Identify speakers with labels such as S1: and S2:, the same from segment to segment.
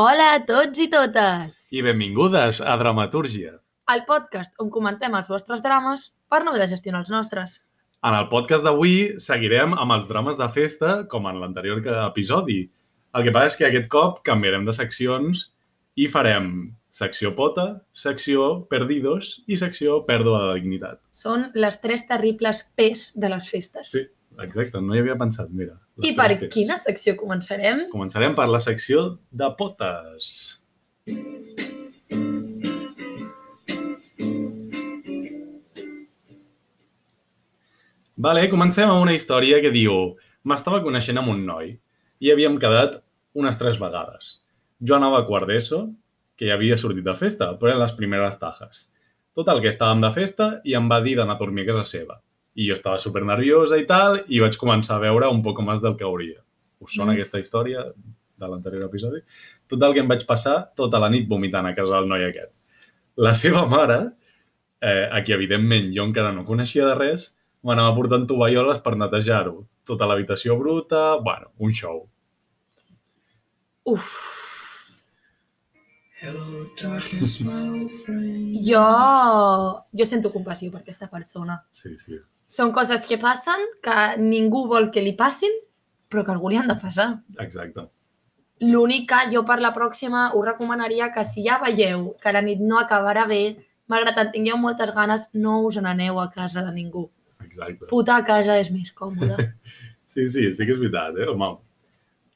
S1: Hola a tots i totes!
S2: I benvingudes a Dramatúrgia.
S1: El podcast on comentem els vostres drames per no haver de gestionar els nostres.
S2: En el podcast d'avui seguirem amb els drames de festa com en l'anterior ca- episodi. El que passa és que aquest cop canviarem de seccions i farem secció pota, secció perdidos i secció pèrdua de dignitat.
S1: Són les tres terribles P's de les festes.
S2: Sí, Exacte, no hi havia pensat, mira. les
S1: I per
S2: tres Ps.
S1: quina secció començarem?
S2: Començarem per la secció de potes. Vale, comencem amb una història que diu M'estava coneixent amb un noi i havíem quedat unes tres vegades. Jo anava a quart d'ESO, que ja havia sortit de festa, però eren les primeres tajes. Tot el que estàvem de festa i em va dir d'anar a dormir a casa seva. I jo estava super nerviosa i tal, i vaig començar a veure un poc més del que hauria. Us sona
S1: Mm.
S2: aquesta història de l'anterior episodi? Tot el que em vaig passar tota la nit vomitant a casa del noi aquest. La seva mare, eh, a qui evidentment jo encara no coneixia de res, m'anava portant tovalloles per netejar-ho. Tota l'habitació bruta, bueno, un show.
S1: Uf,
S3: Hello, darkness, my old friend.
S1: jo... jo sento compassió per aquesta persona.
S2: Sí, sí.
S1: Són coses que passen, que ningú vol que li passin, però que a algú li han de passar.
S2: Exacte.
S1: L'únic que jo per la pròxima us recomanaria que si ja veieu que la nit no acabarà bé, malgrat en tingueu moltes ganes, no us n'aneu a casa de ningú.
S2: Exacte.
S1: Puta a casa és més còmode.
S2: Sí, sí, sí que és veritat, eh? Home,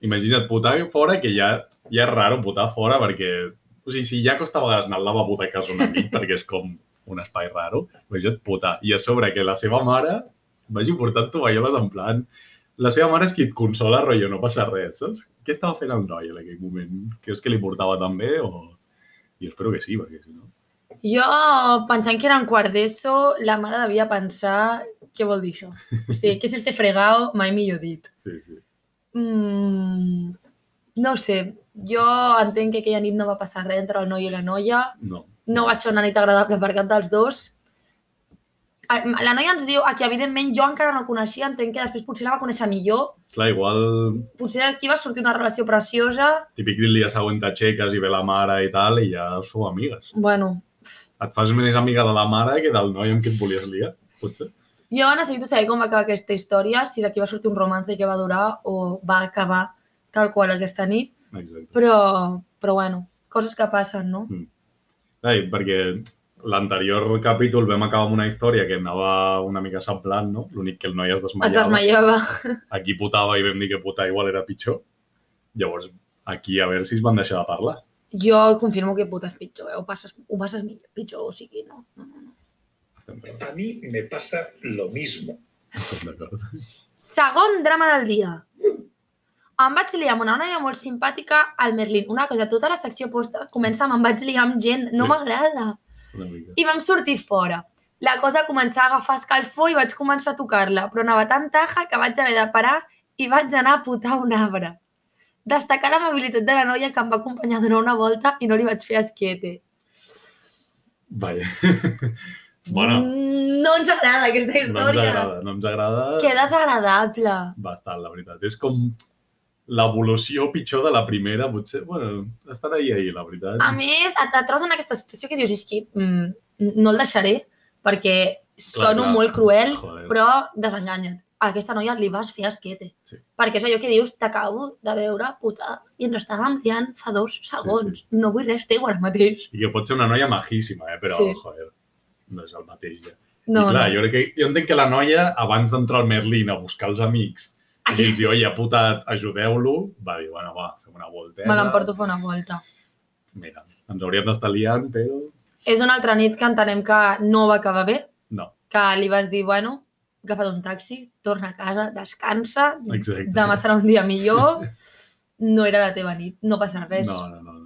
S2: imagina't putar fora, que ja, ja és raro putar fora perquè... O sigui, si ja costa a vegades anar al lavabo de casa un amic perquè és com un espai raro, doncs imagina't putar. I a sobre que la seva mare vagi portant tovalloles en plan... La seva mare és qui et consola, rotllo, no passa res, saps? Què estava fent el noi en aquell moment? Creus que li portava tan bé o...? Jo espero que sí, perquè si no...
S1: Jo, pensant que era en quart d'ESO, la mare devia pensar què vol dir això. O sigui, que si este fregao, mai millor dit.
S2: Sí, sí.
S1: Mm, no ho sé, jo entenc que aquella nit no va passar res entre el noi i la noia,
S2: No.
S1: no va ser una nit agradable per cap dels dos. Eh, La noia ens diu ah, que, evidentment, jo encara no coneixia, entenc que després potser la va conèixer millor,
S2: Clar, igual
S1: potser d'aquí va sortir una relació preciosa.
S2: típic del dia següent t'aixeques i ve la mare i tal i ja sou amigues.
S1: Bueno,
S2: et fas més amiga de la mare que del noi amb qui et volies liar, potser.
S1: jo necessito saber com va acabar aquesta història, si d'aquí va sortir un romance que va durar o va acabar tal qual aquesta nit,
S2: Exacte.
S1: però, però bueno, coses que passen, no?
S2: Ai, perquè l'anterior capítol vam acabar amb una història que anava una mica semblant, no? L'únic que el noi es
S1: Es
S2: desmaiava.
S1: desmaiava.
S2: Aquí putava i vam dir que putar igual era pitjor. Llavors, aquí a veure si es van deixar de parlar.
S1: Jo confirmo que putes pitjor, eh? ho, passes, ho passes millor, pitjor, o sigui, no. no, no, no.
S2: Estem d'acord,
S3: A mí me pasa lo mismo.
S2: estem d'acord.
S1: Segon drama del dia. Em vaig liar amb una noia molt simpàtica al Merlin. Una cosa, tota la secció posta comença amb em vaig liar amb gent, no
S2: Sí.
S1: m'agrada.
S2: Una mica.
S1: I vam sortir fora. La cosa començà a agafar escalfor i vaig començar a tocar-la, però anava tan taja que vaig haver de parar i vaig anar a putar un arbre. Destacar l'amabilitat de la noia que em va acompanyar a donar una volta i no li vaig fer esquiete.
S2: Vaja. bueno,
S1: Mm, No ens agrada aquesta
S2: no ens
S1: història.
S2: agrada, no ens agrada
S1: que desagradable.
S2: bastant, la veritat. És com l'evolució pitjor de la primera, potser. Bueno, estan ahir, ahir, la veritat.
S1: A més, et, et trobes en aquesta situació que dius, és que mm, no el deixaré perquè sono
S2: clar.
S1: molt cruel,
S2: Joder.
S1: però desenganya't. A aquesta noia li vas fer esquete.
S2: Sí.
S1: Perquè és allò que dius, t'acabo de veure, puta, i ens estàvem liant fa dos segons. No vull res teu ara mateix.
S2: I que pot ser una noia majíssima, eh? però,
S1: Sí.
S2: sí. joder, no és el mateix. Ja. No,
S1: No,
S2: I clar,
S1: no.
S2: jo, crec que, jo entenc que la noia, abans d'entrar al Merlin a buscar els amics, i
S1: Ai,
S2: els diu, oi, putat, ajudeu-lo, va dir, bueno, va, fem una volteta.
S1: me l'emporto a fer una volta.
S2: Mira, ens hauríem d'estar liant, però
S1: És una altra nit que entenem que no va acabar bé,
S2: no,
S1: que li vas dir, bueno, agafa't un taxi, torna a casa, descansa,
S2: exacte.
S1: demà serà un dia millor, no era la teva nit, no passa res.
S2: No, no, no. no.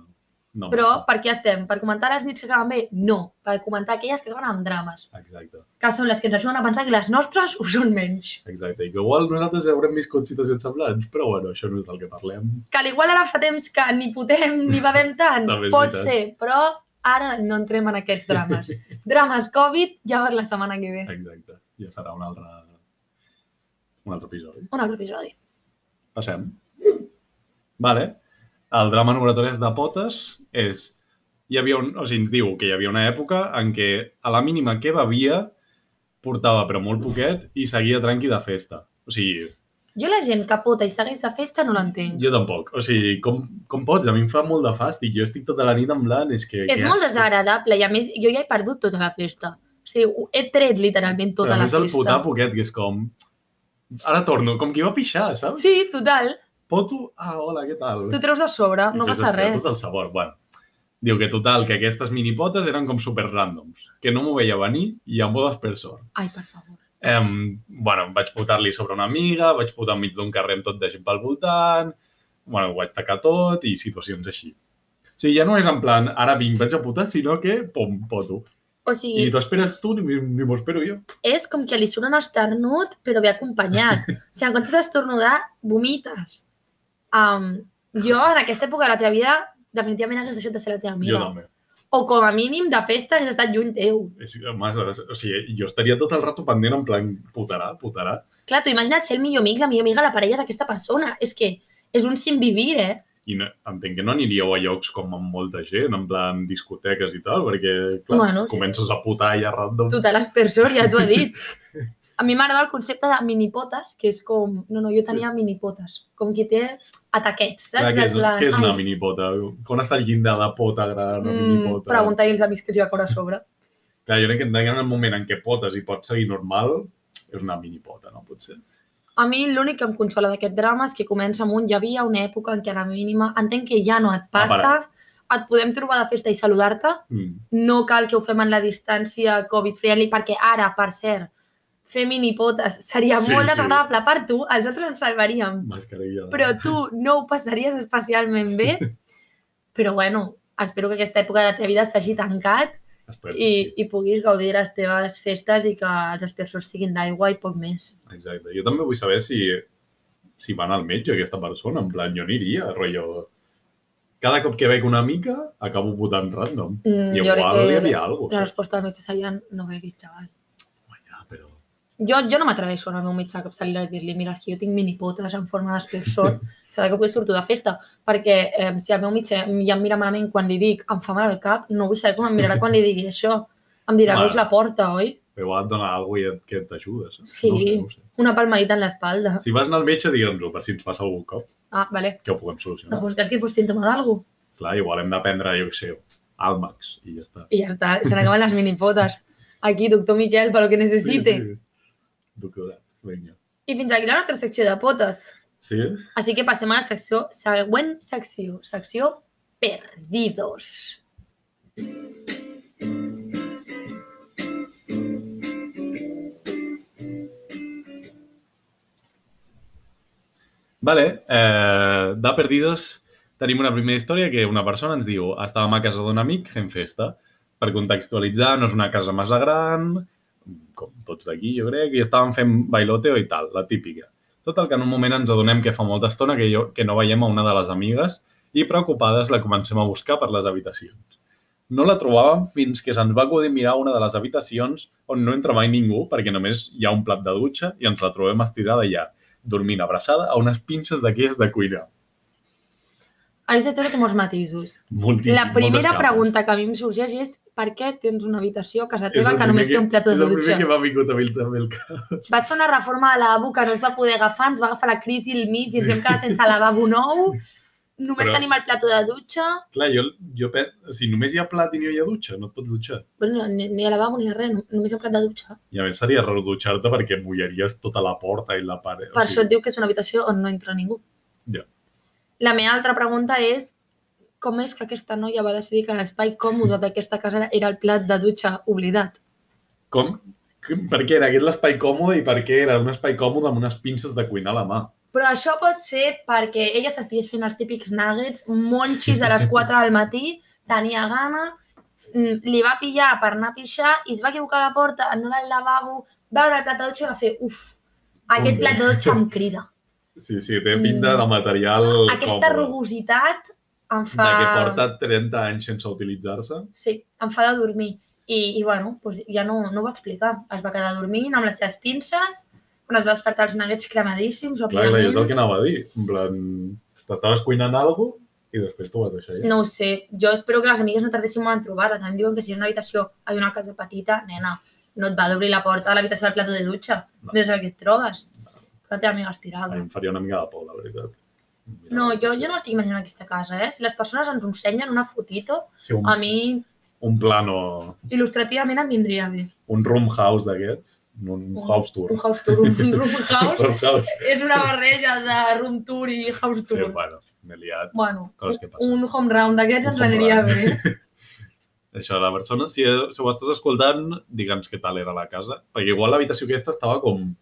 S2: no
S1: Però
S2: massa.
S1: per què estem? Per comentar les nits que acaben bé? No. Per comentar aquelles que acaben amb drames,
S2: Exacte,
S1: que són les que ens ajuden a pensar que les nostres ho són menys.
S2: exacte. I que igual nosaltres haurem viscut situacions semblants, però bueno, això no és del que parlem.
S1: Que al igual ara fa temps que ni putem ni bevem tant,
S2: També és
S1: pot
S2: veritat.
S1: ser, però ara no entrem en aquests drames. drames Covid ja per la setmana que ve.
S2: Exacte. Ja serà un altre, un altre episodi.
S1: Un altre episodi.
S2: Passem. Vale. El drama número 3 de Potes és... Hi havia un, o sigui, ens diu que hi havia una època en què a la mínima que bevia portava però molt poquet i seguia tranqui de festa. O sigui,
S1: Jo la gent que pota i segueix de festa no l'entenc.
S2: jo tampoc. O sigui, com, com pots? A mi em fa molt de fàstic. Jo estic tota la nit en blanc, és que...
S1: És
S2: que
S1: molt
S2: asco.
S1: desagradable i, a més, jo ja he perdut tota la festa. O sigui, ho- he tret literalment tota
S2: Però a
S1: la
S2: més el
S1: festa.
S2: putar poquet, que és com... Ara torno, com qui va pixar, saps?
S1: Sí, total.
S2: Poto, ah, hola, què tal?
S1: Tu treus de sobre,
S2: I
S1: no
S2: després
S1: passa
S2: es queda
S1: res.
S2: Tot el sabor, bueno. Diu que total, que aquestes minipotes eren com super randoms, que no m'ho veia venir i em bodes per sort.
S1: Ai, per favor.
S2: Em, bueno, em vaig putar-li sobre una amiga, vaig putar enmig d'un carrer amb tot de gent pel voltant, bueno, ho vaig tacar tot i situacions així. O sigui, ja no és en plan, ara vinc, vaig a putar, sinó que, pom, poto.
S1: O
S2: I
S1: sigui,
S2: ni t'ho esperes tu ni, ni m'ho espero jo.
S1: és com que li surt un esternut, però ve acompanyat. O sigui, en comptes d'estornudar, vomites. Um, jo, en aquesta època de la teva vida, definitivament hagués deixat de ser la teva
S2: Mira. Jo
S1: amiga.
S2: també.
S1: O com a mínim, de festa, hagués estat lluny teu.
S2: És, mas, o sigui, jo estaria tot el rato pendent en plan, putarà, putarà.
S1: Clar, tu imagina't ser el millor amic, la millor amiga, la parella d'aquesta persona. És que és un sin vivir, eh?
S2: I no, entenc que no aniríeu a llocs com amb molta gent, en plan discoteques i tal, perquè clar,
S1: Bueno,
S2: bueno,
S1: sí.
S2: comences sí. a putar allà random.
S1: Total aspersor, ja t'ho he dit. A mi m'agrada el concepte de minipotes, que és com... No, no, jo tenia minipotes. Com qui té ataquets, saps?
S2: Clar, què és,
S1: Del
S2: què és una
S1: ai,
S2: minipota? Com està el llindar de pota gran o
S1: Mm,
S2: minipota?
S1: Pregunta-li als amics que t'hi va córrer a sobre.
S2: Clar, jo crec que en el moment en què potes i pots seguir normal, és una minipota, no? Potser.
S1: A mi l'únic que em consola d'aquest drama és que comença amb un hi havia una època en què a la mínima entenc que ja no et
S2: Ah,
S1: passa, et podem trobar de festa i saludar-te,
S2: Mm.
S1: no cal que ho fem en la distància Covid-friendly, perquè ara, per cert, fer minipotes seria
S2: Sí,
S1: molt
S2: sí.
S1: desagradable per tu, els altres ens salvaríem.
S2: Mascarilla. de-
S1: Però tu no ho passaries especialment bé. Però, bueno, espero que aquesta època de la teva vida s'hagi tancat
S2: Espero,
S1: i,
S2: I... sí.
S1: i puguis gaudir de les teves festes i que els aspersors siguin d'aigua i poc més.
S2: Exacte. Jo també vull saber si, si van al metge aquesta persona. En plan, jo aniria, rotllo... Cada cop que veig una mica, acabo votant random.
S1: Mm,
S2: I
S1: jo
S2: igual hi
S1: crec que
S2: havia alguna
S1: la
S2: cosa.
S1: resposta del metge seria no beguis, xaval.
S2: Ja, però...
S1: Jo, jo no m'atreveixo a anar al meu metge a capçalera i dir-li mira, és que jo tinc minipotes en forma d'aspersor cada cop que surto de festa, perquè eh, si el meu metge ja em mira malament quan li dic em fa mal el cap, no vull saber com em mirarà quan li digui això. Em dirà,
S2: Vale.
S1: veus la porta, oi?
S2: Però igual et dona alguna cosa que t'ajuda, saps?
S1: Sí.
S2: No ho sé, no ho sé.
S1: Una palmadita en l'espalda.
S2: Si vas anar al metge, digue'ns-ho, per si ens passa algun cop,
S1: Ah, vale.
S2: que ho puguem
S1: No
S2: solucionar.
S1: fos cas que fos símptoma d'algú.
S2: Clar, igual hem de prendre, jo què sé, Almax, i ja està.
S1: I ja està, se n'acaben les minipotes. Aquí, doctor Miquel, per lo que necessite. Sí, sí.
S2: Doctorat, vinga.
S1: I fins aquí la nostra secció de potes.
S2: Sí?
S1: Així que passem a la secció, següent secció, secció Perdidos.
S2: Vale, eh, de perdidos tenim una primera història que una persona ens diu estàvem a casa d'un amic fent festa. Per contextualitzar, no és una casa massa gran, com tots d'aquí, jo crec, i estàvem fent bailoteo i tal, la típica. Tot el que en un moment ens adonem que fa molta estona que, jo, que no veiem a una de les amigues i preocupades la comencem a buscar per les habitacions. No la trobàvem fins que se'ns va acudir mirar una de les habitacions on no entra mai ningú perquè només hi ha un plat de dutxa i ens la trobem estirada allà, dormint abraçada a unes pinces d'aquelles de cuina.
S1: Aquesta teoria té molts matisos.
S2: Moltíssim,
S1: La primera
S2: moltes capes.
S1: pregunta que a mi em sorgeix és per què tens una habitació a casa
S2: És
S1: teva
S2: el
S1: que només
S2: primer
S1: té un plat de
S2: És el
S1: dutxa?
S2: primer que m'ha vingut a mi també el cap.
S1: Va ser una reforma de la lavabo que no es va poder agafar, ens va agafar la crisi al mig i ens vam quedar sense lavabo nou. Només
S2: Però-
S1: tenim el plató de dutxa.
S2: Clar, jo, jo pet, o sigui, només hi ha plat i no hi ha dutxa, no et pots dutxar.
S1: Bueno, ni, ni a lavabo ni a res, no- només un plat de dutxa.
S2: I a més seria raro dutxar-te perquè mullaries tota la porta i la paret.
S1: Per això et diu que és una habitació on no entra ningú.
S2: Ja.
S1: La meva altra pregunta és com és que aquesta noia va decidir que l'espai còmode d'aquesta casa era el plat de dutxa oblidat?
S2: Com? Com- Per què era aquest l'espai còmode i per què era un espai còmode amb unes pinces de cuinar a la mà?
S1: Però això pot ser perquè ella s'estigués fent els típics nuggets, monxis a les 4 del matí, tenia gana, mm, li va pillar per anar a pixar i es va equivocar a la porta, no era al lavabo, va veure el plat de dutxa i va fer uf, aquest
S2: Hombre.
S1: plat de dutxa em crida.
S2: Sí, sí, té pinta de material
S1: Mm. Aquesta
S2: còmode.
S1: rugositat em
S2: De
S1: fa...
S2: que porta 30 anys sense utilitzar-se.
S1: Sí, em fa de dormir. I, i bueno, doncs ja no, no ho va explicar. Es va quedar dormint amb les seves pinces, quan es va despertar els nuggets cremadíssims,
S2: Clar, clar,
S1: òbviament.
S2: és el que anava a dir. En plan, t'estaves cuinant alguna I després tu ho vas deixar allà.
S1: No ho sé, jo espero que les amigues no tardessin molt en trobar-la. També em diuen que si és una habitació a una casa petita, nena, no et va d'obrir la porta a l'habitació del plató de dutxa.
S2: No.
S1: Ves el que et trobes. Que la teva amiga
S2: A mi
S1: estirada.
S2: em faria una mica de por, la veritat. Mira,
S1: No, jo, jo no estic imaginant aquesta casa, eh? Si les persones ens ho ensenyen una fotito,
S2: Sí, un,
S1: a mi
S2: un plano,
S1: il·lustrativament em vindria bé.
S2: un room house d'aquests, no un
S1: Un-
S2: house tour.
S1: Un house tour, un room house,
S2: room house.
S1: és una barreja de room tour i house
S2: Sí,
S1: tour.
S2: bueno, m'he liat.
S1: bueno,
S2: Coses que passen.
S1: un home round d'aquests
S2: Un
S1: ens
S2: home
S1: aniria
S2: round.
S1: bé.
S2: Això, la persona, si, si ho estàs escoltant, digue'ns què tal era la casa. Perquè igual l'habitació aquesta estava com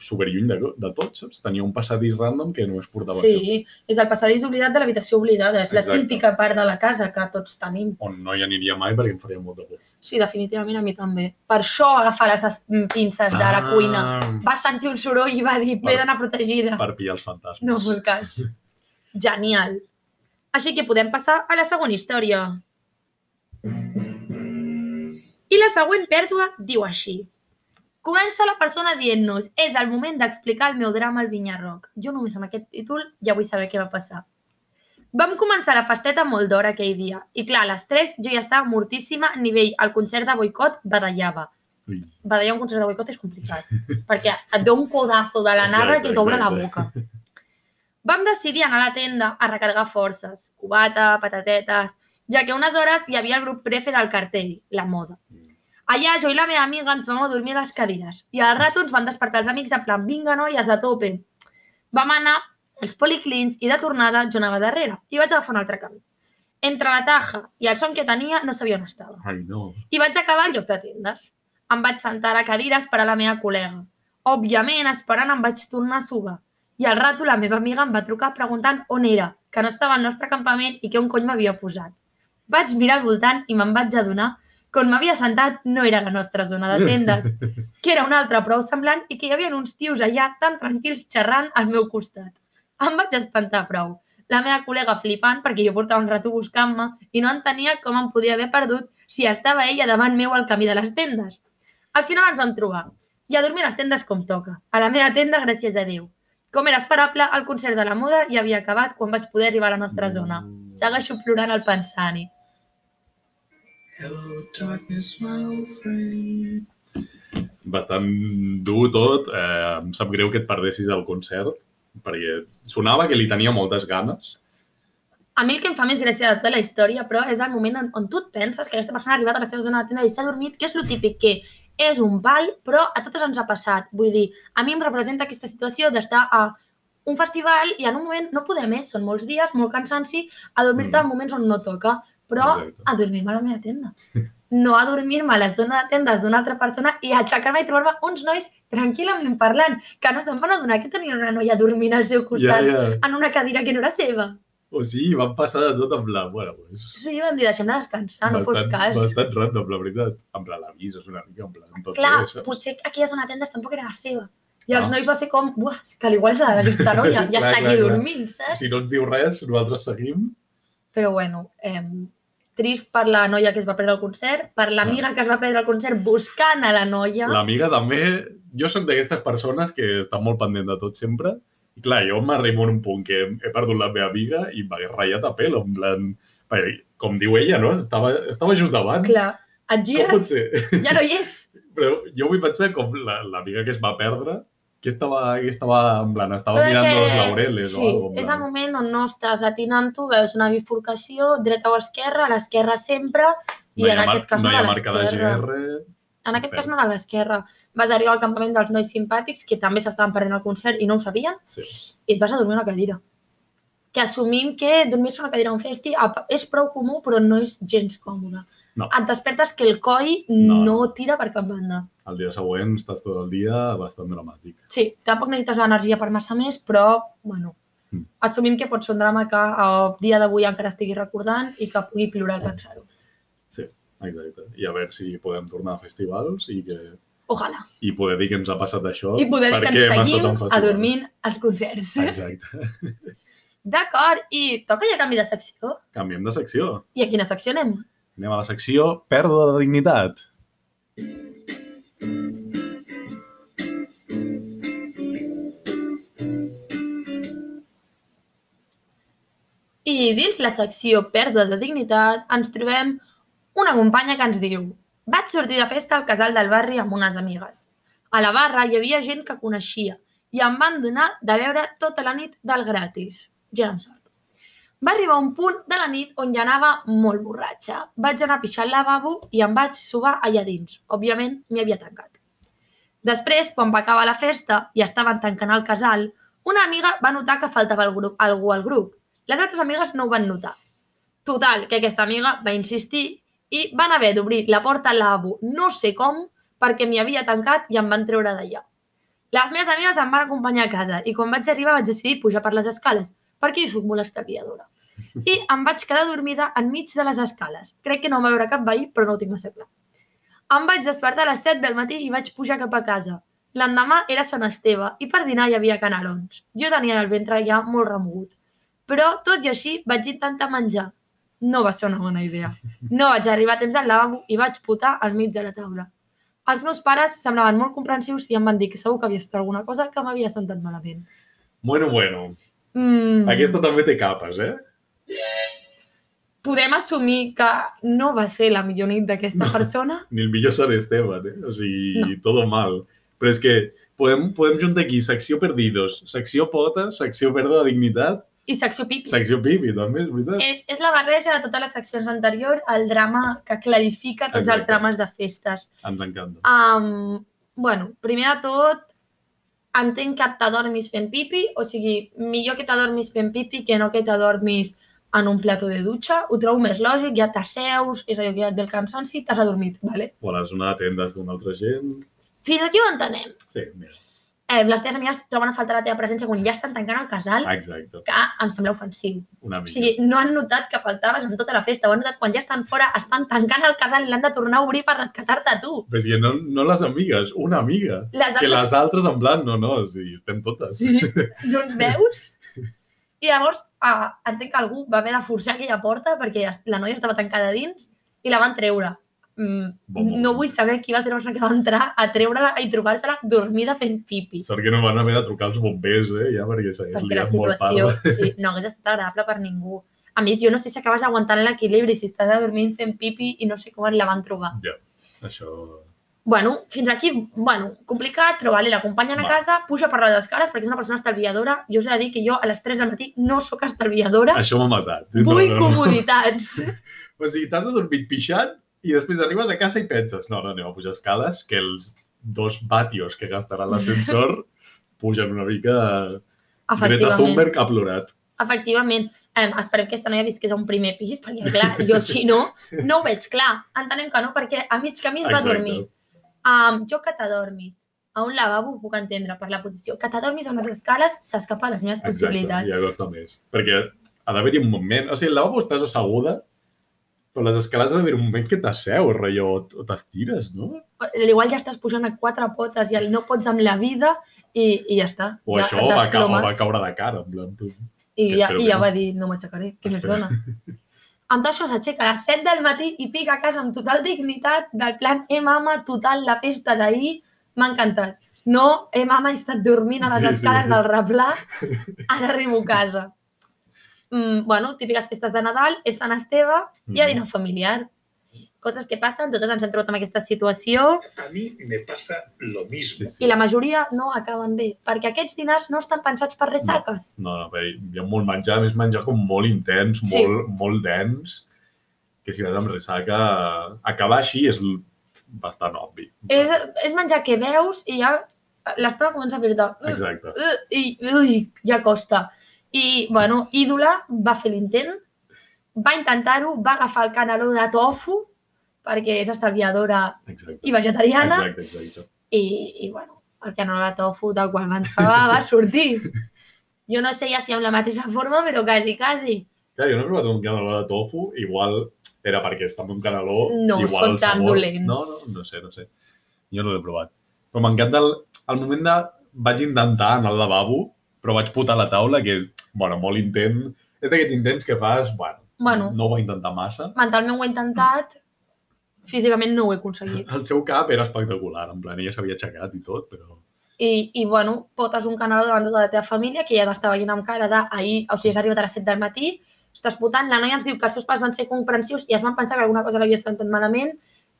S2: super lluny de, de tot, saps? Tenia un passadís random que només portava això,
S1: Sí, és el passadís oblidat de l'habitació oblidada. És la
S2: Exacte.
S1: típica part de la casa que tots tenim.
S2: on no hi aniria mai perquè em faria molt de por.
S1: Sí, definitivament a mi també. Per això agafaràs les pinces de la cuina. Va sentir un soroll i va dir, m'he
S2: Ah. Per-
S1: d'anar protegida.
S2: Per pillar els fantasmes.
S1: No fos cas. Genial. Així que podem passar a la següent història. I la següent pèrdua diu així. Comença la persona dient-nos és el moment d'explicar el meu drama al Vinyarroc. Jo només amb aquest títol ja vull saber què va passar. Vam començar la festeta molt d'hora aquell dia i clar, a les 3 jo ja estava mortíssima a nivell al concert de boicot badallava.
S2: Ui,
S1: Badallar un concert de boicot és complicat perquè et ve un codazo de la nada
S2: Exacte,
S1: que t'obre la
S2: exacte.
S1: boca. Vam decidir anar a la tenda a recargar forces, cubata, patatetes, ja que unes hores hi havia el grup prefe del cartell, la moda. Allà jo i la meva amiga ens vam adormir a les cadires i al rato ens van despertar els amics en plan vinga noies a tope. Vam anar als policlins i de tornada jo anava darrere i vaig agafar un altre camí. Entre la taja i el son que tenia no sabia on estava
S2: ai no.
S1: i vaig acabar al lloc de tendes. Em vaig sentar a la cadira a esperar la meva col·lega. Òbviament, esperant, em vaig tornar a subar. I al rato la meva amiga em va trucar preguntant on era, que no estava al nostre campament i que un cony m'havia posat. Vaig mirar al voltant i me'n vaig adonar que on m'havia sentat no era la nostra zona de tendes, que era una altra prou semblant i que hi havia uns tios allà tan tranquils xerrant al meu costat. Em vaig espantar prou. La meva col·lega flipant, perquè jo portava un rato buscant-me i no entenia com em podia haver perdut si estava ella davant meu al camí de les tendes. Al final ens vam trobar i a dormir a les tendes com toca. A la meva tenda, gràcies a Déu. Com era esperable, el concert de la moda ja havia acabat quan vaig poder arribar a la
S2: Mm.
S1: nostra zona. Segueixo plorant al pensar-hi.
S3: Hello, darkness, my old friend.
S2: Bastant dur tot. Eh, em sap greu que et perdessis el concert, perquè sonava que li tenia moltes ganes.
S1: A mi el que em fa més gràcia de tota la història, però, és el moment on, on tu et penses que aquesta persona ha arribat a la seva zona de tenda i s'ha dormit, que és lo típic que és un pal, però a totes ens ha passat. Vull dir, a mi em representa aquesta situació d'estar a un festival i en un moment no poder més, són molts dies, molt cansanci, a dormir-te
S2: Mm.
S1: en moments on no toca, però
S2: Exacte.
S1: a dormir-me a la meva tenda. No a dormir-me a la zona de tendes d'una altra persona i a aixecar-me i trobar-me uns nois tranquil·lament parlant, que no se'n van adonar que tenien una noia dormint al seu
S2: Ja,
S1: costat
S2: ja.
S1: en una cadira que no era seva.
S2: O sigui, van passar de tot en plan, bueno, pues,
S1: Sí, vam dir, deixem-la descansar, Ah, no fos cas.
S2: Bastant random, la veritat. En plan, la vist és una mica, en plan... Tot
S1: Clar,
S2: bé, saps?
S1: potser aquella zona de tendes tampoc era la seva. I
S2: Ah.
S1: els nois va ser com, buah, és que igual és la d'aquesta noia, ja
S2: Clar,
S1: està aquí
S2: clar, clar.
S1: dormint, saps?
S2: Si no et diu res, nosaltres seguim.
S1: Però bueno, eh, trist per la noia que es va perdre el concert, per
S2: Ah.
S1: l'amiga que es va perdre el concert buscant a la noia.
S2: L'amiga també... Jo sóc d'aquestes persones que estan molt pendent de tot sempre. I clar, jo m'arribo en un punt que he perdut la meva amiga i m'hagués ratllat a pèl, en plan... perquè, Com diu ella, no? Estava, estava just davant.
S1: Clar, et
S2: Com pot
S1: gires,
S2: ser?
S1: ja no hi és.
S2: Però jo vull pensar com la- l'amiga que es va perdre, que estava, que estava en plan, estava
S1: Però
S2: mirant
S1: que-
S2: els laureles
S1: Sí,
S2: o alguna
S1: és el moment on no estàs atinant-ho, veus una bifurcació, dreta o esquerra, a l'esquerra sempre, i en aquest cas
S2: no
S1: no
S2: hi
S1: a
S2: ha marca de
S1: l'esquerra.
S2: GR,
S1: En aquest cas no
S2: Pels.
S1: era l'esquerra. Vas arribar al campament dels nois simpàtics que també s'estaven perdent el concert i no ho sabien
S2: Sí.
S1: i et vas a dormir a una cadira. Que assumim que dormir-se a una cadira a un festi apa, és prou comú però no és gens còmode.
S2: No.
S1: Et despertes que el coll no,
S2: No, no.
S1: tira per cap banda.
S2: el dia següent estàs tot el dia bastant dramàtic.
S1: Sí, tampoc necessites l'energia per massa més, però, bueno,
S2: Mm.
S1: assumim que pot ser un drama que a dia d'avui encara estigui recordant i que pugui plorar al pensar-ho.
S2: Exacte. I a veure si podem tornar a festivals i, que,
S1: Ojalà.
S2: i poder dir que ens ha passat això.
S1: I poder dir
S2: perquè
S1: que ens
S2: hem estat
S1: seguim
S2: en
S1: a
S2: festivals.
S1: dormir als concerts.
S2: Exacte.
S1: D'acord, i toca ja canvi de secció.
S2: Canviem de secció.
S1: I a quina secció anem?
S2: Anem a la secció pèrdua de dignitat.
S1: I dins la secció pèrdua de dignitat ens trobem una companya que ens diu vaig sortir de festa al casal del barri amb unes amigues. A la barra hi havia gent que coneixia i em van donar de veure tota la nit del gratis. Ja em sort. Va arribar un punt de la nit on ja anava molt borratxa. Vaig anar a pixar al lavabo i em vaig subar allà dins. Òbviament, m'hi havia tancat. Després, quan va acabar la festa i estaven tancant el casal, una amiga va notar que faltava el grup, algú al grup. Les altres amigues no ho van notar. Total, que aquesta amiga va insistir i van haver d'obrir la porta al lavabo no sé com perquè m'hi havia tancat i em van treure d'allà. Les meves amigues em van acompanyar a casa i quan vaig arribar vaig decidir pujar per les escales perquè jo soc molt estalviadora. I em vaig quedar dormida enmig de les escales. Crec que no em va veure cap veí, però no ho tinc massa clar. Em vaig despertar a les 7 del matí i vaig pujar cap a casa. L'endemà era Sant Esteve i per dinar hi havia canarons. Jo tenia el ventre ja molt remogut. Però, tot i així, vaig intentar menjar. No va ser una bona idea. No vaig arribar a temps al lavabo i vaig putar al mig de la taula. Els meus pares semblaven molt comprensius i em van dir que segur que havia estat alguna cosa que m'havia sentat malament.
S2: Bueno, bueno.
S1: Mm,
S2: Aquesta també té capes, eh?
S1: Podem assumir que no va ser la millor nit d'aquesta
S2: No.
S1: persona?
S2: Ni el millor Sant Esteban, eh? O sigui,
S1: No.
S2: todo mal. Però és que podem, podem juntar aquí secció perdidos, secció pota, secció pèrdua de dignitat,
S1: I secció pipi.
S2: secció pipi, també, és veritat.
S1: És, és la barreja de totes les seccions anteriors, el drama que clarifica tots els
S2: Exacte.
S1: drames de festes.
S2: Ens encanta.
S1: Um, bueno, primer de tot, entenc que t'adormis fent pipi, o sigui, millor que t'adormis fent pipi que no que t'adormis en un plató de dutxa. Ho trobo més lògic, ja t'asseus, és allò que ja et ve el cansanci, t'has adormit, vale?
S2: O a la zona de tendes d'una altra gent.
S1: Fins aquí ho entenem.
S2: Sí, mira.
S1: Eh, les teves amigues troben a faltar la teva presència quan ja estan tancant el casal,
S2: Exacte,
S1: que em sembla ofensiu.
S2: una
S1: O
S2: mica.
S1: sigui, no han notat que faltaves en tota la festa, ho han notat quan ja estan fora, estan tancant el casal i l'han de tornar a obrir per rescatar-te a tu.
S2: Però és que no, no les amigues, una amiga.
S1: Les
S2: Que
S1: altres
S2: les altres, en plan, no, no, o sigui, estem totes.
S1: Sí, no ens veus? I llavors ah, entenc que algú va haver de forçar aquella porta perquè es- la noia estava tancada a dins i la van treure. Mm,
S2: Bon moment.
S1: no vull saber qui va ser la persona que va entrar a treure-la i trobar-se-la dormida fent pipi.
S2: Sort que no van haver de trucar els bombers, eh, ja, perquè s'hagués
S1: Perquè la
S2: liat molt
S1: situació
S2: parda.
S1: sí, no hagués estat agradable per ningú. A més, jo no sé si acabes aguantant l'equilibri, si estàs adormint fent pipi i no sé com la van trobar.
S2: Això...
S1: Bueno, fins aquí, bueno, complicat, però vale, l'acompanyen a
S2: Va.
S1: casa, puja per les escales perquè és una persona estalviadora. Jo us he de dir que jo a les 3 del matí no sóc estalviadora,
S2: Això m'ha matat.
S1: vull
S2: No, no, no.
S1: comoditats.
S2: O sigui, t'has adormit pixant i després arribes a casa i penses, no, no, anem a pujar escales, que els dos vatios que gastaran l'ascensor pugen una mica... Greta
S1: Efectivament.
S2: Thunberg ha plorat.
S1: Efectivament. Em, esperem que aquesta noia visqués a un primer pis, perquè, clar, jo si no, no ho veig clar. Entenem que no, perquè a mig camí es va
S2: Exacte.
S1: dormir. Um, jo que t'adormis a un lavabo ho puc entendre per la posició. Que t'adormis a unes escales s'escapa a les meves possibilitats.
S2: ja costa més. Perquè ha d'haver-hi un moment... O sigui, al lavabo estàs asseguda, però a les escales ha d'haver un moment que t'asseus, rotllo, o- o t'estires, no?
S1: igual ja estàs pujant a quatre potes i el no pots amb la vida i, i ja està.
S2: O
S1: ja
S2: això o va, ca o
S1: desplomes
S2: va caure de cara, en plan, tu.
S1: I
S2: que
S1: ja,
S2: espero
S1: i
S2: que
S1: ja
S2: no.
S1: va dir, no m'aixecaré, què més
S2: Espero.
S1: dona? Amb tot això s'aixeca a les 7 del matí i pica a casa amb total dignitat del plan, eh, mama, total, la festa d'ahir m'ha encantat. No, eh, mama, he estat dormint a les
S2: Sí, sí.
S1: sí, escales sí. del replà, ara arribo a casa. Mm, bueno, típiques festes de Nadal, és Sant Esteve i
S2: Mm-hmm.
S1: a dinar familiar. Coses que passen, totes ens hem trobat en aquesta situació.
S3: A mí me pasa lo mismo.
S2: Sí, sí.
S1: i la majoria no acaben bé, perquè aquests dinars no estan pensats per ressaques.
S2: No, no, bé, hi ha molt menjar, a més menjar com molt intens,
S1: Sí.
S2: molt, molt dens, que si vas amb ressaca, acabar així és l- bastant obvi.
S1: És, és menjar que veus i ja l'estona comença a fer-te... "Ugh,
S2: Exacte.
S1: ugh", I ui, ja costa. I, bueno, Ídola va fer l'intent, va intentar-ho, va agafar el canaló de tofu, perquè és estalviadora
S2: Exacte.
S1: i vegetariana,
S2: Exacte, exacte.
S1: i, i bueno, el canaló de tofu del qual van falar va sortir. Jo no sé ja si amb la mateixa forma, però quasi, quasi.
S2: Clar, jo no he provat un caneló de tofu, igual era perquè està amb un caneló...
S1: No
S2: igual
S1: són
S2: el
S1: tan
S2: sabor-
S1: dolents.
S2: No, no, no sé, no sé. Jo no l'he provat. Però m'encanta el, el moment de... Vaig intentar anar al lavabo, però vaig putar a la taula, que és, bueno, molt intent. És d'aquests intents que fas, bueno,
S1: Bueno.
S2: no ho va intentar massa.
S1: mentalment ho he intentat, físicament no ho he aconseguit.
S2: El seu cap era espectacular, en plan, ella s'havia aixecat i tot, però...
S1: I, i bueno, potes un canal davant de tota la teva família que ja t'està veient amb cara de ahir, o sigui, has arribat a les 7 del matí, estàs putant, la noia ens diu que els seus pares van ser comprensius i es van pensar que alguna cosa l'havia sentit malament,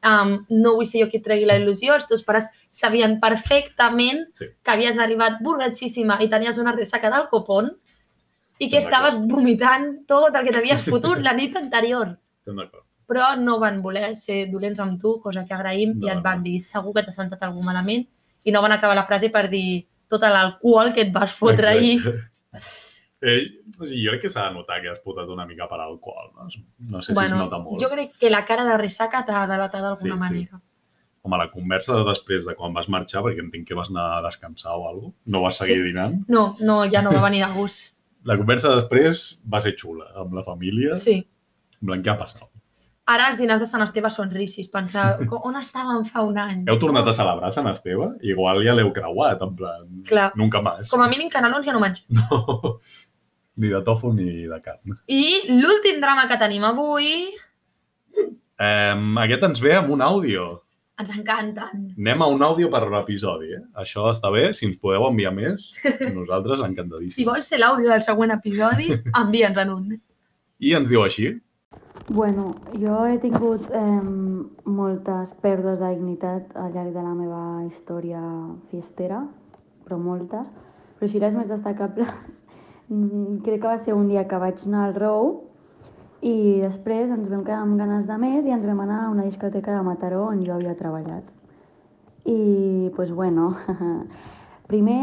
S1: um, no vull ser jo qui et tregui la il·lusió, els teus pares sabien perfectament
S2: Sí.
S1: que havies arribat borratxíssima i tenies una ressaca del copón i que
S2: Estem d'acord.
S1: estaves vomitant tot el que t'havies fotut la nit anterior.
S2: Estem d'acord.
S1: Però no van voler ser dolents amb tu, cosa que agraïm,
S2: No,
S1: i et van
S2: no.
S1: dir segur que t'ha sentat algú malament i no van acabar la frase per dir tot l'alcohol que et vas fotre
S2: Exacte.
S1: ahir.
S2: Eh, o sigui, jo crec que s'ha de notar que has putat una mica per alcohol. No, no sé si es nota molt.
S1: jo crec que la cara de ressaca t'ha delatat d'alguna
S2: Sí, sí.
S1: manera.
S2: Home, la conversa de després de quan vas marxar, perquè entenc que vas anar a descansar o alguna cosa, no vas
S1: Sí.
S2: seguir sí. dinant.
S1: No, no, ja no va venir a gust.
S2: La conversa de després va ser xula, amb la família, sí.
S1: Sí.
S2: en plan, què ha passat?
S1: Ara els dinars de Sant Esteve són ricis. Pensar, "Co- on estàvem fa un any?
S2: Heu tornat a celebrar Sant Esteve? Igual ja l'heu creuat, en plan,
S1: Clar.
S2: nunca más.
S1: Com a mínim, canelons ja no mengem.
S2: No, ni de tòfol ni de carn.
S1: I l'últim drama que tenim avui
S2: Um, aquest ens ve amb un àudio.
S1: ens encanten.
S2: Anem a un àudio per episodi, eh? Això està bé, si ens podeu enviar més, nosaltres encantadíssims.
S1: Si vols ser l'àudio del següent episodi, envia'ns en un.
S2: I ens diu així,
S4: Bueno, jo he tingut eh, moltes pèrdues de dignitat al llarg de la meva història fiestera, però moltes. Però així les més destacables, mm, crec que va ser un dia que vaig anar al Rou i després ens vam quedar amb ganes de més i ens vam anar a una discoteca de Mataró on jo havia treballat. I, pues bueno, primer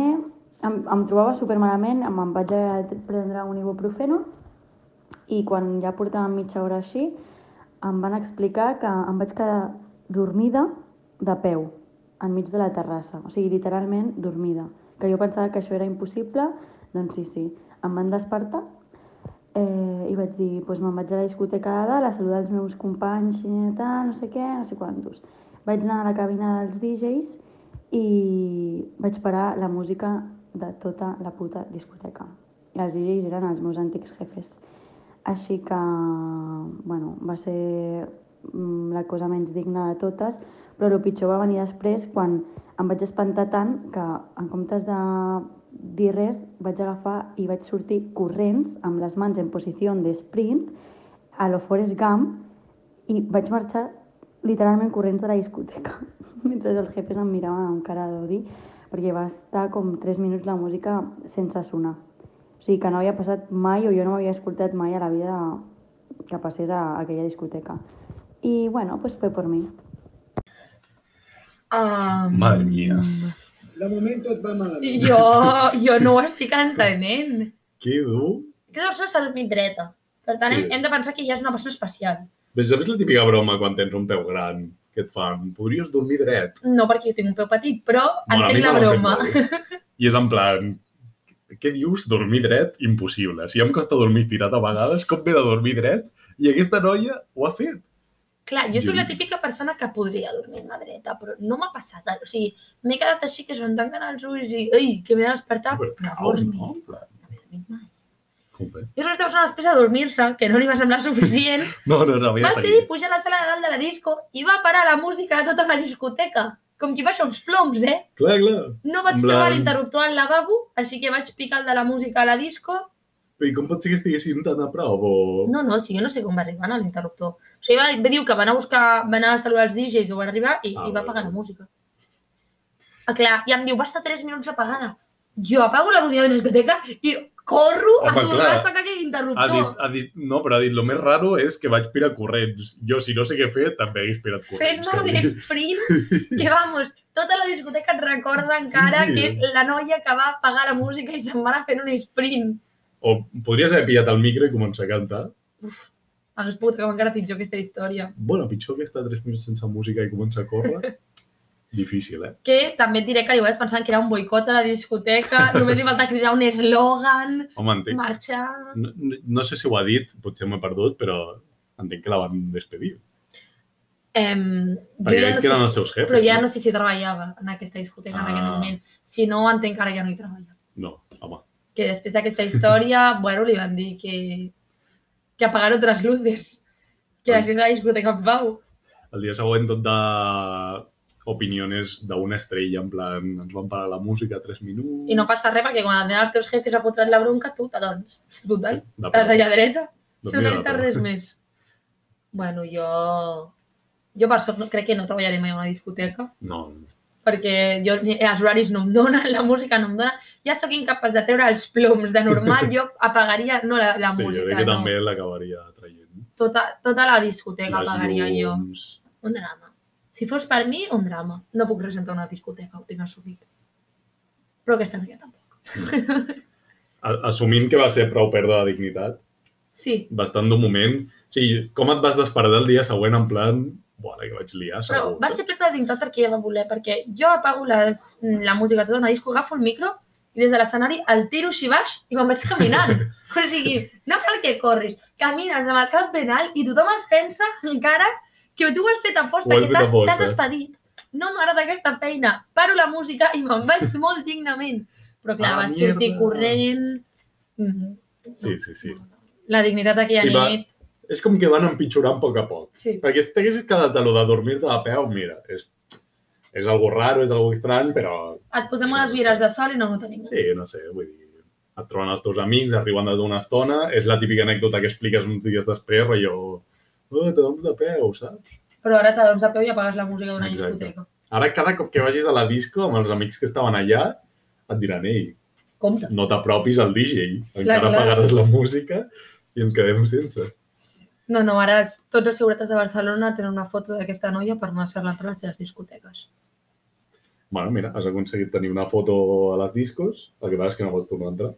S4: em, em trobava supermalament, em, em vaig haver de prendre un ibuprofeno i quan ja portava mitja hora així, em van explicar que em vaig quedar dormida de peu, enmig de la terrassa. O sigui, literalment dormida. Que jo pensava que això era impossible, doncs sí, sí. Em van despertar eh, i vaig dir, doncs me'n vaig a la discoteca de dalt a saludar els meus companys, i tal, no sé què, no sé quantos. Vaig anar a la cabina dels DJs i vaig parar la música de tota la puta discoteca. I els DJs eren els meus antics jefes. Així que, bueno, va ser mm, la cosa menys digna de totes, però el pitjor va venir després quan em vaig espantar tant que en comptes de dir res vaig agafar i vaig sortir corrents amb les mans en posició de sprint a lo Forest Gump i vaig marxar literalment corrents de la discoteca mentre els jefes em miraven amb cara d'odi perquè va estar com 3 minuts la música sense sonar. O sigui, que no havia passat mai o jo no m'havia escoltat mai a la vida que passés a aquella discoteca. I bueno, pues fue por mi.
S1: Um,
S2: Madre mía.
S5: De moment tot va malament.
S1: Jo, jo no ho estic entenent.
S2: que dur.
S1: Aquesta persona s'ha dormit dreta. Per tant,
S2: Sí.
S1: hem, hem de pensar que ja és una persona especial.
S2: Ves, saps la típica broma quan tens un peu gran que et fan, podries dormir dret?
S1: No perquè jo tinc un peu petit, però
S2: Bueno, a mi
S1: entenc la
S2: me l'han fet
S1: broma.
S2: molt. I és en plan, què dius? Dormir dret? Impossible. Si ja em costa dormir estirat a vegades, com ve de dormir dret? I aquesta noia ho ha fet.
S1: Clar, jo soc
S2: Jo-
S1: la típica persona que podria dormir-me dreta, però no m'ha passat. O sigui, m'he quedat així que se'm tanquen els ulls i ei, que m'he de despertar, però, però
S2: caos,
S1: dormir.
S2: no?
S1: No?
S2: En plan, com ve?
S1: Jo soc aquesta persona després de dormir-se, que no li va semblar suficient,
S2: No, no, no, ja
S1: va
S2: seguir.
S1: decidir pujar a la sala de dalt de la disco i va parar la música de tota la discoteca. Com qui baixa uns ploms, eh?
S2: Clar, clar.
S1: No vaig
S2: En plan-
S1: trobar l'interruptor al lavabo, així que vaig picar el de la música a la disco.
S2: Però i com pot ser que estiguessin tan a prop? O...
S1: No, no, si jo no sé com va arribar a l'interruptor. O sigui, va, va diu que va anar a buscar, va anar a saludar els DJs, ho van arribar i,
S2: Ah,
S1: i va
S2: vale,
S1: apagar la
S2: vale.
S1: música. Ah, clar, i em diu, va estar 3 minuts apagada. Jo apago la música de la discoteca i corro a
S2: Home,
S1: tornar
S2: clar.
S1: a aixecar aquell
S2: Ha
S1: interruptor.
S2: dit, ha dit, no, però ha dit, lo més raro és que vaig pirar corrents. Jo, si no sé què fer, també he pirat corrents.
S1: Fent-me un
S2: que-
S1: sprint que, vamos, tota la discoteca et recorda encara
S2: sí.
S1: que és la noia que va apagar la música i se'n va anar fent un sprint.
S2: O podries haver pillat el micro i començar a cantar.
S1: Hagués pogut acabar encara pitjor aquesta història.
S2: Bueno, pitjor que estar tres minuts sense música i començar a córrer. Difícil, eh?
S1: que també et diré que jo vaig pensant que era un boicot a la discoteca, només li falta cridar un eslògan,
S2: Home, entenc.
S1: marxar...
S2: No, no- no sé si ho ha dit, potser m'he perdut, però entenc que la van despedir.
S1: Em, jo
S2: Perquè
S1: ja
S2: ja
S1: no
S2: que
S1: sé,
S2: eren
S1: si-
S2: els seus jefes.
S1: però ja no sé si treballava en aquesta discoteca en aquest
S2: Ah.
S1: moment. Si no, entenc que ara ja no hi treballa.
S2: No, home.
S1: Que després d'aquesta història, bueno, li van dir que, que apagar otras luces, que
S2: Ai.
S1: deixés la discoteca en pau.
S2: El dia següent tot de opinions d'una estrella, en plan, ens van parar la música tres minuts...
S1: I no passa res, perquè quan et venen els teus jefes a fotre't la bronca, tu t'adorms. És
S2: Sí,
S1: brutal.
S2: de
S1: Estàs
S2: prou.
S1: allà dreta.
S2: Doncs mira la
S1: Soleta,
S2: teva.
S1: res més. Bueno, jo... Jo per sort no- crec que no treballaré mai a una discoteca,
S2: No,
S1: perquè jo, ni- els horaris no em donen, la música no em dona. Ja sóc incapaç de treure els ploms. De normal jo apagaria no, la, la
S2: sí, jo
S1: música,
S2: crec que
S1: no.
S2: també l'acabaria traient.
S1: Tota, tota la discoteca
S2: Les
S1: apagaria jo.
S2: llums,
S1: Un drama. Si fos per mi, un drama. No puc presentar una discoteca, ho tinc assumit. Però aquesta no hi ha tampoc.
S2: A- Assumint que va ser prou pèrdua de dignitat,
S1: Sí,
S2: bastant d'un moment... O sigui, com et vas despertar el dia següent en plan... Buah, la que vaig liar,
S1: però
S2: segur.
S1: va ser pèrdua de dignitat perquè ella va voler, perquè jo apago les, la música tota una disco, agafo el micro i des de l'escenari el tiro així baix i me'n vaig caminant. o sigui, no cal que corris, camines amb el cap ben alt i tothom es pensa encara que tu ho has fet a
S2: Ho
S1: posta, que
S2: has fet a
S1: t'has
S2: posta.
S1: t'has despedit. No m'agrada aquesta feina, paro la música i me'n vaig molt dignament. Però clar,
S2: Ah,
S1: va sortir
S2: mierda.
S1: corrent... Mm,
S2: Sí, sí, sí.
S1: La dignitat d'aquella
S2: Sí,
S1: sí,
S2: va.
S1: nit...
S2: És com que van empitjorant a poc a poc.
S1: Sí.
S2: Perquè si t'haguessis quedat a lo de dormir-te a peu, mira, és, és algo raro, és algo estrany, però
S1: Et posem
S2: Sí,
S1: unes
S2: sí.
S1: vires de sol i no ho tenim.
S2: sí, no sé, vull dir, et troben els teus amics, arriben de d'una estona, és la típica anècdota que expliques uns dies després, allò, oh, t'adones de peu, saps?
S1: Però ara t'adons a peu i apagues la música d'una
S2: Exacte.
S1: discoteca.
S2: Ara, cada cop que vagis a la disco amb els amics que estaven allà, et diran, ei,
S1: Compte.
S2: no t'apropis al DJ, encara
S1: clar.
S2: pagaràs la música i ens quedem sense.
S1: No, no, ara els- tots els seguretes de Barcelona tenen una foto d'aquesta noia per anar-se-la a les seves discoteques.
S2: Bueno, mira, has aconseguit tenir una foto a les discos, el que passa és que no pots tornar a entrar.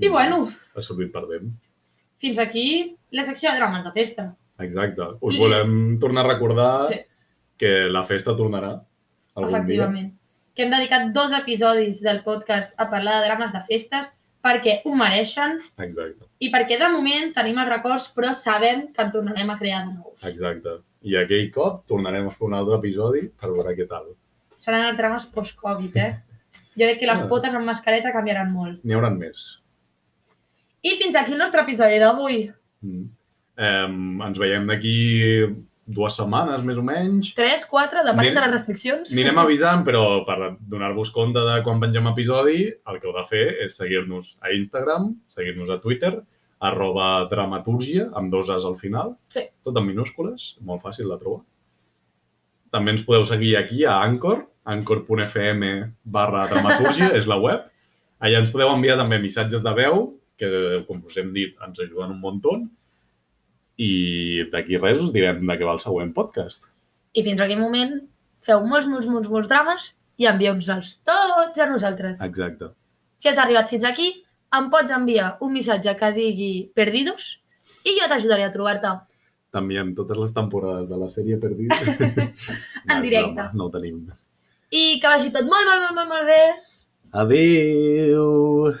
S1: I bueno,
S2: Ha sortit perdent.
S1: fins aquí la secció de drames de festa.
S2: Exacte. Us
S1: I-
S2: volem tornar a recordar
S1: Sí.
S2: que la festa tornarà Ah, algun dia.
S1: Efectivament. Que hem dedicat dos episodis del podcast a parlar de drames de festes perquè ho mereixen
S2: Exacte,
S1: i perquè de moment tenim els records però sabem que en tornarem a crear de nous.
S2: exacte. I aquell cop tornarem a fer un altre episodi per veure què tal.
S1: Seran els drames post-Covid, eh? Jo crec que les
S2: Ah.
S1: potes amb mascareta canviaran molt.
S2: N'hi hauran més.
S1: I fins aquí el nostre episodi d'avui.
S2: Mm. Eh, ens veiem d'aquí dues setmanes, més o menys.
S1: 3, 4, depenent
S2: Anem-
S1: de les restriccions.
S2: Anirem avisant, però per donar-vos compte de quan pengem episodi, el que heu de fer és seguir-nos a Instagram, seguir-nos a Twitter, arroba dramatúrgia, amb dos as al final,
S1: Sí.
S2: tot en minúscules, molt fàcil de trobar. També ens podeu seguir aquí a Anchor, anchor.fm barra dramatúrgia, és la web. Allà ens podeu enviar també missatges de veu, que, com us hem dit, ens ajuden un muntó. I d'aquí res us direm de què va el següent podcast.
S1: I fins aquell moment feu molts, molts, molts, molts drames i envieu-nos-els tots a nosaltres.
S2: Exacte.
S1: Si has arribat fins aquí, em pots enviar un missatge que digui perdidos i jo t'ajudaré a trobar-te.
S2: també amb totes les temporades de la sèrie Perdida.
S1: En directe.
S2: No, no ho tenim.
S1: I que vagi tot molt, molt, molt, molt, molt bé.
S2: Adéu!